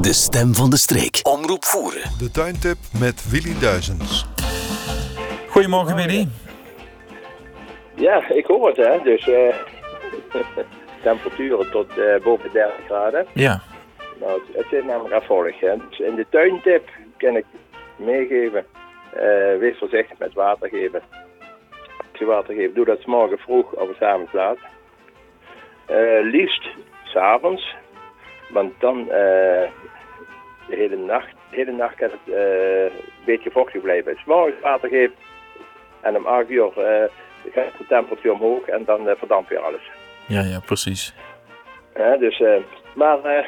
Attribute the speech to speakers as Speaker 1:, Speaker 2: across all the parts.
Speaker 1: De stem van de streek. Omroep voeren.
Speaker 2: De tuintip met Willy Duizends.
Speaker 3: Goedemorgen, Willy.
Speaker 4: Ja, ik hoor het, hè. Dus eh temperaturen tot eh, boven 30 graden.
Speaker 3: Ja.
Speaker 4: Nou, het, het is namelijk afvallig, hè. Dus in de tuintip kan ik meegeven. eh, wees voorzichtig met water geven. Als je water geeft, doe dat 's morgen vroeg of 's avonds laat. Eh, liefst s'avonds. Want dan eh, de hele nacht, de hele nacht kan het eh, een beetje vochtig blijven. S'morgens water geeft en om 8 uur eh, gaat de temperatuur omhoog en dan eh, verdampt weer alles.
Speaker 3: Ja, ja, precies.
Speaker 4: Hè, dus, eh, maar eh,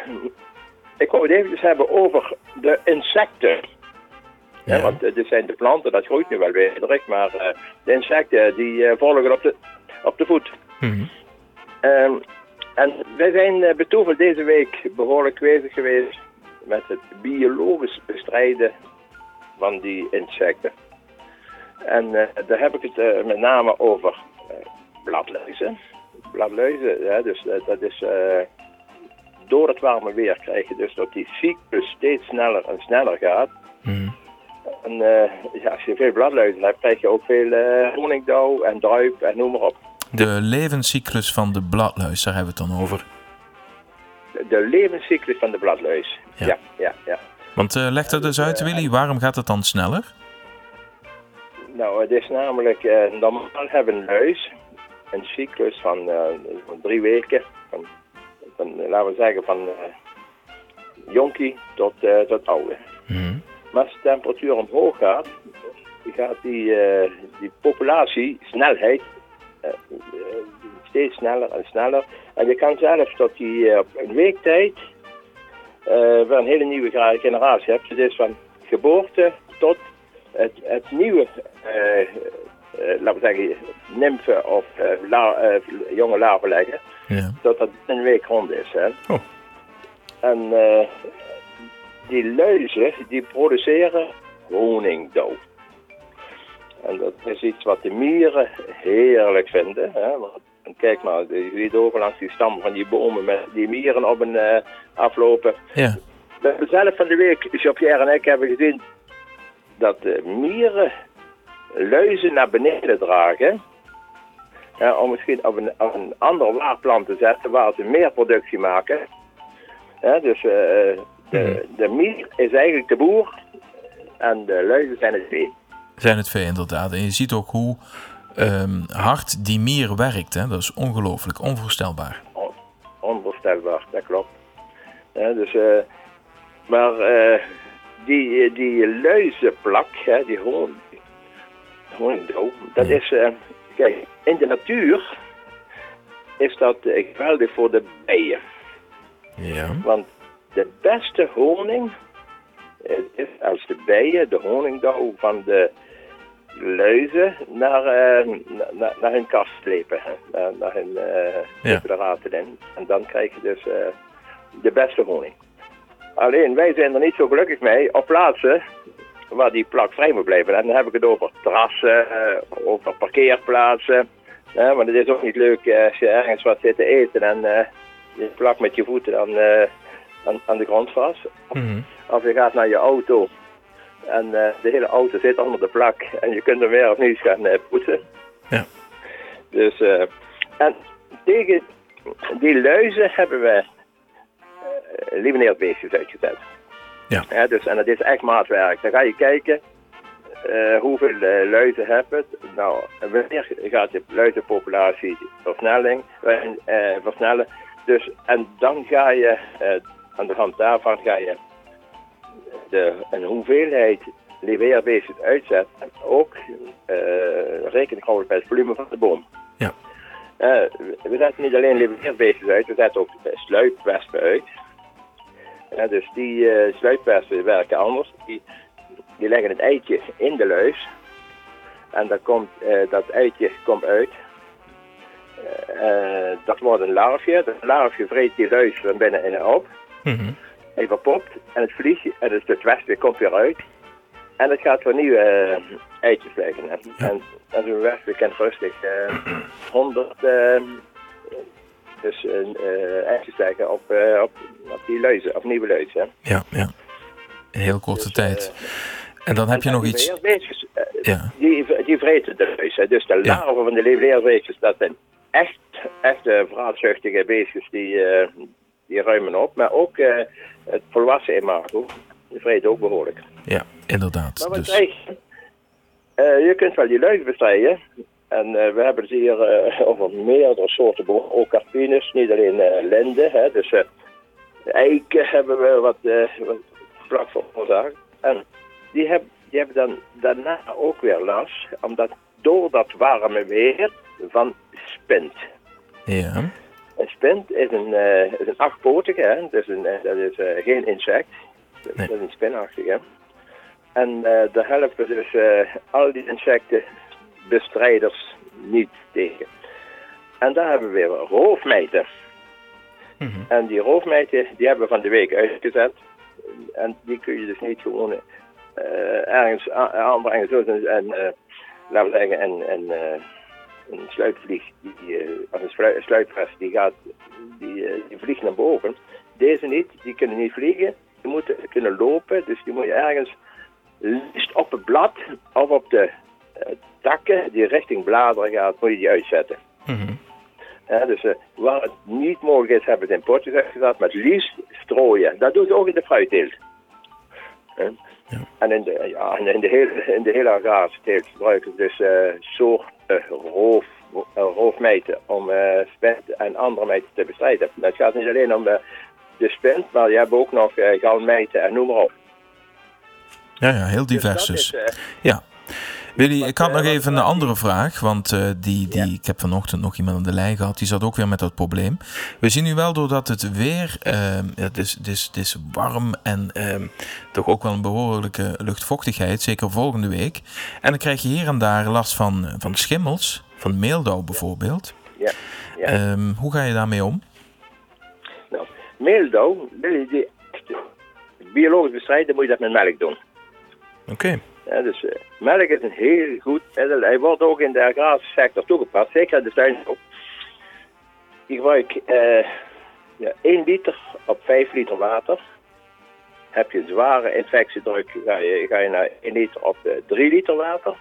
Speaker 4: ik wou het eventjes hebben over de insecten. Hè,
Speaker 3: Ja.
Speaker 4: want eh, dit zijn de planten, dat groeit nu wel weer direct, maar eh, de insecten die eh, volgen op de, op de voet.
Speaker 3: Mhm.
Speaker 4: Ehm, en wij zijn eh betooverd deze week behoorlijk bezig geweest met het biologisch bestrijden van die insecten. En eh, daar heb ik het eh, met name over eh, bladluizen. Bladluizen, hè, dus eh, dat is eh, door het warme weer krijg je dus dat die cyclus steeds sneller en sneller gaat.
Speaker 3: Mhm.
Speaker 4: En eh, ja, als je veel bladluizen hebt, krijg je ook veel eh honingdauw en druip en noem maar op.
Speaker 3: De levenscyclus van de bladluis, daar hebben we het dan over.
Speaker 4: De levenscyclus van de bladluis.
Speaker 3: Ja.
Speaker 4: Ja, ja, ja.
Speaker 3: Want eh, leg dat eens uit, Willy. Waarom gaat het dan sneller?
Speaker 4: Nou, het is namelijk, eh, normaal hebben een luis een cyclus van eh, van drie weken. Van, van, eh, laten we zeggen van eh jonkie tot, eh, tot oude.
Speaker 3: Mhm.
Speaker 4: Maar als de temperatuur omhoog gaat, gaat die, eh, die populatiesnelheid eh, eh, steeds sneller en sneller. En je kan zelfs dat je eh, op een week tijd eh, weer een hele nieuwe gra- generatie hebt. Het is van geboorte tot het, het nieuwe, eh, eh, laten we zeggen, nymfen of eh, la- eh, jonge larven leggen
Speaker 3: Ja.
Speaker 4: dat dat een week rond is. Hè?
Speaker 3: Oh.
Speaker 4: En eh, die luizen die produceren honingdauw. En dat is iets wat de mieren heerlijk vinden. Hè? Want, en kijk maar, je ziet over langs die stam van die bomen met die mieren op een eh, aflopen.
Speaker 3: Ja.
Speaker 4: We hebben zelf van de week, Jean-Pierre en ik hebben gezien dat de mieren luizen naar beneden dragen. hè, om misschien op een, op een ander waarplant te zetten waar ze meer productie maken. Hè, dus eh, de, de mier is eigenlijk de boer en de luizen zijn het vee.
Speaker 3: Zijn het vee inderdaad. En je ziet ook hoe ehm, hard die mier werkt. Hè? Dat is ongelooflijk, onvoorstelbaar.
Speaker 4: On- onvoorstelbaar, dat klopt. Ja, dus, eh, maar eh, die, die luizenplak, hè, die hoorn, hoorndauw, dat is, eh, kijk, in de natuur is dat eh, geweldig voor de bijen.
Speaker 3: Ja.
Speaker 4: Want de beste honing eh, is als de bijen de honingdauw van de luizen naar, eh, na- na- naar hun kast slepen. hè. Naar, naar hun
Speaker 3: Ja.
Speaker 4: apparaten in. En dan krijg je dus eh, de beste honing. Alleen wij zijn er niet zo gelukkig mee op plaatsen waar die plak vrij moet blijven. En dan heb ik het over terrassen, eh, over parkeerplaatsen. hè, want het is ook niet leuk eh, als je ergens wat zit te eten en eh, je plakt met je voeten aan, eh, aan, aan de grond vast.
Speaker 3: Mhm.
Speaker 4: Of je gaat naar je auto en eh, de hele auto zit onder de plak en je kunt er weer opnieuw gaan eh, poetsen.
Speaker 3: Ja.
Speaker 4: Dus, eh, en tegen die luizen hebben we uh, beestjes uitgezet.
Speaker 3: Ja.
Speaker 4: dus, en dat is echt maatwerk. Dan ga je kijken eh, hoeveel eh, luizen heb het. Nou, wanneer gaat de luizenpopulatie versnelling, eh, eh, versnellen. Dus, en dan ga je, eh, aan de hand daarvan ga je de, een hoeveelheid leveerbeestjes uitzet. En ook eh rekening houden bij het volume van de boom.
Speaker 3: Ja.
Speaker 4: Eh, we- we zetten niet alleen leveerbeestjes uit, we zetten ook eh, sluipwespen uit. Ja, dus die eh sluipwespen werken anders. Die, die leggen het eitje in de luis. En dan komt, eh, dat eitje komt uit. Eh, dat wordt een larfje. Dat larfje vreet die luis van binnenin op.
Speaker 3: Mhm.
Speaker 4: Hij verpopt en het vliegt en het, het wespen komt weer uit. En het gaat weer nieuwe eh, eitjes leggen. En, en, en zo'n wespen kan rustig eh 100 eh, ehm, Dus eh eh, eitjes leggen op, eh, op, op die leuzen, op nieuwe leuzen. hè.
Speaker 3: ja, ja. In heel korte tijd. En dan heb je
Speaker 4: En
Speaker 3: nog
Speaker 4: die
Speaker 3: iets...
Speaker 4: leerbeestjes, eh,
Speaker 3: Ja,
Speaker 4: die, die vreten de leuzen. Dus de
Speaker 3: Ja.
Speaker 4: larven van de leerbeestjes, dat zijn echt, echt eh, vraatzuchtige beestjes die, eh, die ruimen op. Maar ook eh, het volwassen imago, die vreten ook behoorlijk.
Speaker 3: ja,
Speaker 4: Maar
Speaker 3: inderdaad.
Speaker 4: wat
Speaker 3: Dus,
Speaker 4: krijg je? Eh, je kunt wel die luik bestrijden. En eh, we hebben het hier eh, over meerdere soorten bomen. Ook carpines, niet alleen eh lenden. Hè. Dus eh, eiken hebben we wat, eh, wat vlak voor ons aan. En die, heb, die hebben dan daarna ook weer last. Omdat door dat warme weer van spint.
Speaker 3: ja,
Speaker 4: Een spint is een, eh, is een achtpotige, hè? Dus een, eh, dat is eh, geen insect. Dat-
Speaker 3: Nee.
Speaker 4: Dat is een spinachtige. En eh, daar helpen dus eh, al die insectenbestrijders niet tegen. En daar hebben we weer roofmijten. En die roofmijten die hebben we van de week uitgezet. En die kun je dus niet gewoon eh, ergens a- aanbrengen. Zoals een, een, eh, laten we zeggen, een, een, eh, een sluitvlieg, die, eh, of een slui- een sluitpres, die, gaat, die, eh, die vliegt naar boven. Deze niet, die kunnen niet vliegen. Die moeten kunnen lopen, dus die moet je ergens liefst op het blad of op de eh, takken die richting bladeren gaat, moet je die uitzetten. Ja, dus eh, waar het niet mogelijk is, hebben we het in potjes uitgezet, maar het liefst strooien. Dat doen ze ook in de fruitteelt. Hè? En in de, ja, en in de hele, in de hele agrarische teelt gebruiken ze dus eh soorten roof, eh, roofmijten om eh spint en andere mijten te bestrijden. Het gaat niet alleen om eh, de spint, maar je hebt ook nog eh goudmijten en noem maar op.
Speaker 3: ja, ja, heel divers
Speaker 4: dat is,
Speaker 3: dus.
Speaker 4: eh,
Speaker 3: Ja. Willy, ik had
Speaker 4: eh,
Speaker 3: nog
Speaker 4: wat-
Speaker 3: even een andere vraag. Want eh, die, die, ik heb vanochtend nog iemand aan de lijn gehad. Die zat ook weer met dat probleem. We zien nu wel doordat het weer. eh, het, is, het, is, het is warm en eh, toch ook wel een behoorlijke luchtvochtigheid. Zeker volgende week. En dan krijg je hier en daar last van, van schimmels. Van meeldauw bijvoorbeeld.
Speaker 4: ja, ja.
Speaker 3: Ehm, hoe ga je daarmee om?
Speaker 4: Nou, meeldauw, wil je die echt biologisch bestrijden, moet je dat met melk doen.
Speaker 3: Oké.
Speaker 4: Ja, dus eh, melk is een heel goed middel. Hij wordt ook in de agrarische sector toegepast, zeker in de tuinbouw. Ik gebruik eh, ja, 1 liter op 5 liter water. Heb je een zware infectiedruk, ga je, ga je naar 1 liter op eh, 3 liter water.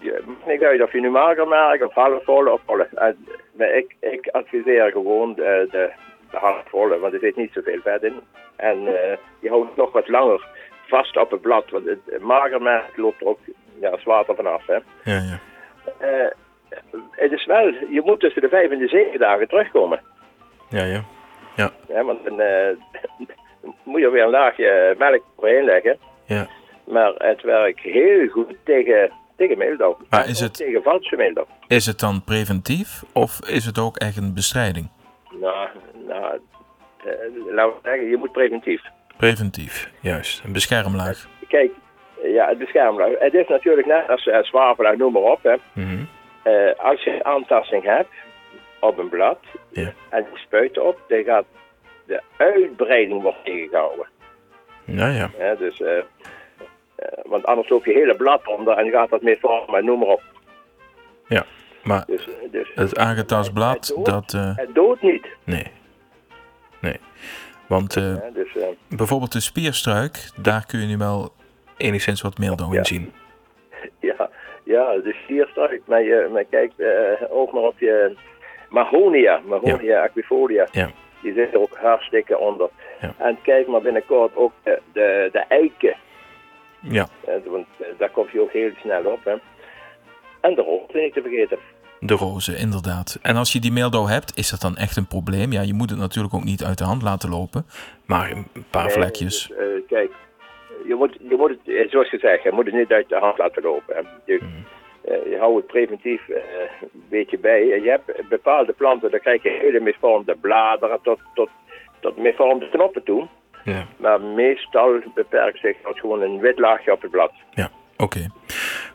Speaker 4: Je maakt niet uit of je nu mager maakt of halfvolle of volle. En, maar ik, ik adviseer gewoon de, de, de halfvolle, want er zit niet zoveel vet in. En eh, je houdt het nog wat langer vast op het blad, want het magermerk loopt er ook ja, als water vanaf. Hè.
Speaker 3: Ja, ja.
Speaker 4: Eh, het is wel, je moet tussen de vijf en de zeven dagen terugkomen.
Speaker 3: Ja, ja.
Speaker 4: Hè, want dan eh, moet je weer een laagje melk overheen leggen.
Speaker 3: ja.
Speaker 4: Maar het werkt heel goed tegen, tegen meeldauw.
Speaker 3: Maar
Speaker 4: En
Speaker 3: is
Speaker 4: ook
Speaker 3: het-
Speaker 4: Tegen valse meeldauw.
Speaker 3: Is het dan preventief of is het ook echt een bestrijding?
Speaker 4: Nou, nou eh, laten we zeggen, je moet preventief.
Speaker 3: Preventief, juist. Een beschermlaag.
Speaker 4: Kijk, eh, ja, het beschermlaag. Het is natuurlijk net als eh, zwavel en noem maar op. Hè.
Speaker 3: Mhm.
Speaker 4: Eh, als je aantasting hebt op een blad
Speaker 3: Ja.
Speaker 4: en je spuit erop, dan gaat de uitbreiding wordt tegengehouden.
Speaker 3: Ja, ja.
Speaker 4: Hè, dus, eh, eh, want anders loop je hele blad onder en gaat dat mee vormen en noem maar op.
Speaker 3: ja. Maar
Speaker 4: Dus, eh, dus,
Speaker 3: het aangetast blad, dat... eh,
Speaker 4: het doodt niet.
Speaker 3: nee. Nee. Want eh,
Speaker 4: Hè, dus, eh,
Speaker 3: bijvoorbeeld de spierstruik, daar kun je nu wel enigszins wat meeldauw in
Speaker 4: Ja.
Speaker 3: zien.
Speaker 4: ja, ja, dus hier start. Maar, je, maar kijk eh, ook maar op je mahonia, mahonia aquifolia.
Speaker 3: Ja.
Speaker 4: Die zit er ook hartstikke onder.
Speaker 3: Ja.
Speaker 4: En kijk maar binnenkort ook de, de, de eiken.
Speaker 3: Ja.
Speaker 4: Eh, Want eh, daar kom je ook heel snel op. Hè. En de rood, niet te vergeten.
Speaker 3: De rozen, inderdaad. En als je die meeldauw hebt, is dat dan echt een probleem? Ja, je moet het natuurlijk ook niet uit de hand laten lopen. Maar een paar vlekjes.
Speaker 4: Eh, dus, eh, kijk, je moet, je moet het, eh, zoals gezegd, je moet het niet uit de hand laten lopen. hè. Je, eh, je houdt het preventief eh, een beetje bij. En Je hebt bepaalde planten, dan krijg je hele misvormde bladeren tot, tot, tot misvormde knoppen toe.
Speaker 3: Ja.
Speaker 4: Maar meestal beperkt zich dat gewoon een wit laagje op het blad.
Speaker 3: Ja, oké.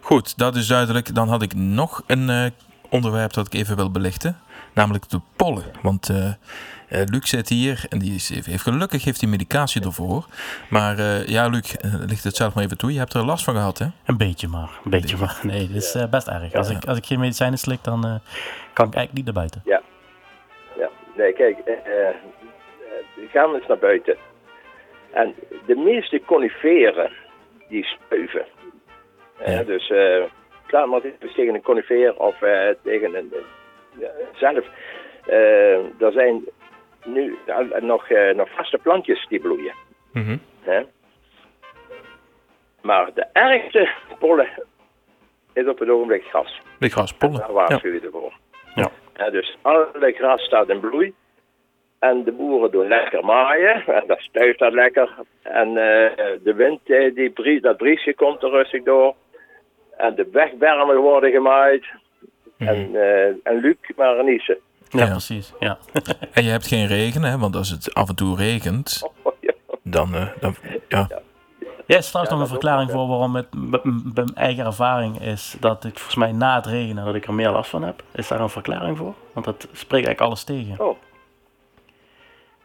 Speaker 3: Goed, dat is duidelijk. Dan had ik nog een eh, onderwerp dat ik even wil belichten. Namelijk de pollen. Want eh, eh, Luc zit hier en die is, heeft gelukkig heeft hij medicatie ervoor. Maar eh, ja, Luc, eh, licht het zelf maar even toe. Je hebt er last van gehad, hè?
Speaker 5: Een beetje maar. Een beetje maar. Nee, dat is eh, best erg. Als ik, als ik geen medicijnen slik, dan eh, kan ik eigenlijk niet naar buiten.
Speaker 4: Ja. ja. Nee, kijk, eh, eh, gaan eens naar buiten. En de meeste coniferen, die spuiven. Eh,
Speaker 3: Ja.
Speaker 4: Dus eh klaar maar eens tegen een conifer of eh, tegen een... eh, ja, zelf, eh, er zijn nu eh, nog, eh, nog vaste plantjes die bloeien.
Speaker 3: Mhm.
Speaker 4: Hè? Maar de ergste pollen is op het ogenblik gras.
Speaker 3: De graspollen.
Speaker 4: Daar
Speaker 3: Ja.
Speaker 4: waarschuw je ervoor.
Speaker 5: Ja.
Speaker 4: Hè, dus alle gras staat in bloei. En de boeren doen lekker maaien. En dat stuift dat lekker. En eh, de wind, eh, die bries, dat briesje komt er rustig door. En de wegbermen worden gemaaid. En, eh, en Luc maar niezen.
Speaker 5: Ja,
Speaker 3: Ja.
Speaker 5: precies. Ja.
Speaker 3: En je hebt geen regen, hè? Want als het af en toe regent,
Speaker 4: Oh,
Speaker 3: dan... eh, dan ja.
Speaker 5: Ja, er is trouwens
Speaker 4: dat
Speaker 5: nog een verklaring
Speaker 4: ook, ja.
Speaker 5: voor waarom het m- m- bij mijn eigen ervaring is dat ik volgens mij na het regenen dat ik er meer last van heb. Is daar een verklaring voor? Want dat spreekt eigenlijk alles tegen.
Speaker 4: Oh.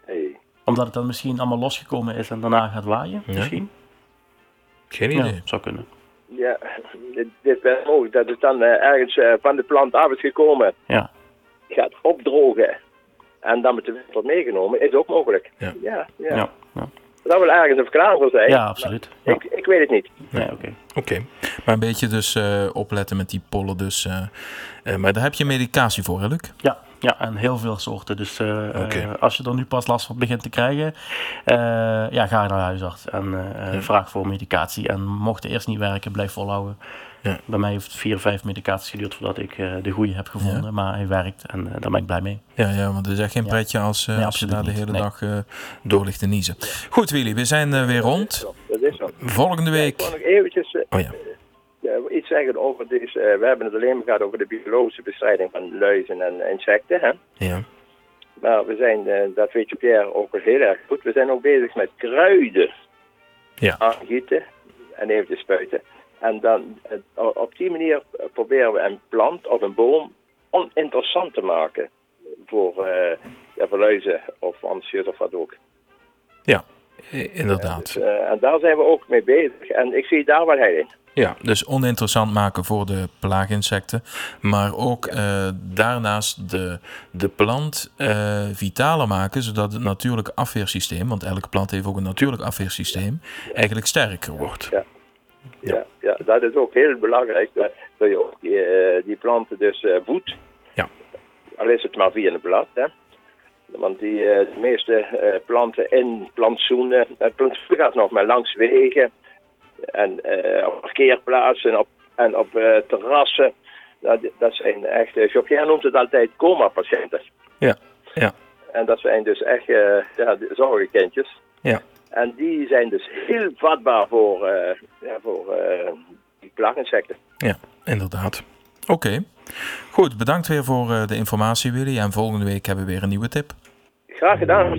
Speaker 4: Hey.
Speaker 5: Omdat het dan misschien allemaal losgekomen is en daarna gaat waaien. Misschien.
Speaker 3: Geen
Speaker 5: Ja,
Speaker 3: idee.
Speaker 5: zou kunnen.
Speaker 4: Ja, dit is best mogelijk dat het dan eh, ergens eh, van de plant af is gekomen.
Speaker 5: Ja.
Speaker 4: Gaat opdrogen. En dan met de wind wordt meegenomen. Is ook mogelijk.
Speaker 3: Ja.
Speaker 4: ja, ja.
Speaker 5: Ja, ja. ja.
Speaker 4: Dat wil ergens een verklaring voor zijn.
Speaker 5: absoluut.
Speaker 4: Maar
Speaker 5: Ja.
Speaker 4: Ik, ik weet het niet.
Speaker 5: Nee, oké.
Speaker 3: Oké. Maar een beetje dus eh, opletten met die pollen. Dus, eh, eh, maar daar heb je medicatie voor, hè, Luc?
Speaker 5: Ja, ja, en heel veel soorten. Dus eh, eh,
Speaker 3: Oké.
Speaker 5: als je er nu pas last van begint te krijgen, eh, ja, ga naar de huisarts en eh, eh, vraag voor medicatie. En mocht het eerst niet werken, blijf volhouden.
Speaker 3: Ja.
Speaker 5: Bij mij heeft vier, vijf medicaties geduurd voordat ik eh, de goede heb gevonden, maar hij werkt en eh, daar ben ik blij mee.
Speaker 3: Ja, ja want het is echt geen pretje als, eh
Speaker 5: Nee,
Speaker 3: als je daar de
Speaker 5: absoluut niet.
Speaker 3: hele
Speaker 5: Nee.
Speaker 3: dag eh, door ligt te niezen. Goed, Willy, we zijn eh, weer rond.
Speaker 4: Dat is zo.
Speaker 3: Volgende
Speaker 4: Ik wil nog
Speaker 3: week.
Speaker 4: eventjes eh,
Speaker 3: Oh ja.
Speaker 4: eh, iets zeggen over deze. eh, we hebben het alleen maar gehad over de biologische bestrijding van luizen en insecten. Hè?
Speaker 3: ja.
Speaker 4: Maar we zijn, eh, dat weet je Pierre ook wel heel erg goed, we zijn ook bezig met kruiden.
Speaker 3: Ja.
Speaker 4: Aangieten en eventjes spuiten. En dan eh, o- op die manier eh, proberen we een plant of een boom oninteressant te maken voor, eh ja, voor luizen of ansjes of wat ook.
Speaker 3: Ja, i- inderdaad.
Speaker 4: Eh, en daar zijn we ook mee bezig. En ik zie daar wel heil in.
Speaker 3: Ja, dus oninteressant maken voor de plaaginsecten. Maar ook eh, daarnaast de, de plant eh, vitaler maken, zodat het natuurlijke afweersysteem, want elke plant heeft ook een natuurlijk afweersysteem, eigenlijk sterker wordt.
Speaker 4: Ja. Ja, dat is ook heel belangrijk dat, dat je ook die, eh, die planten dus eh, voedt.
Speaker 3: Ja.
Speaker 4: Al is het maar via een blad. Hè. Want die, eh, de meeste eh, planten in plantsoenen, eh, het plantsoen gaat nog maar langs wegen en eh, op parkeerplaatsen en op, en op eh, terrassen. Dat, dat zijn echt, eh, Jopier noemt het altijd coma-patiënten.
Speaker 3: Ja, ja.
Speaker 4: En dat zijn dus echt eh ja, de zorgenkindjes.
Speaker 3: Ja.
Speaker 4: En die zijn dus heel vatbaar voor, eh, ja, voor eh, die plaaginsecten.
Speaker 3: Ja, inderdaad. Oké. Goed, bedankt weer voor eh, de informatie, Willy. En volgende week hebben we weer een nieuwe tip.
Speaker 4: Graag gedaan.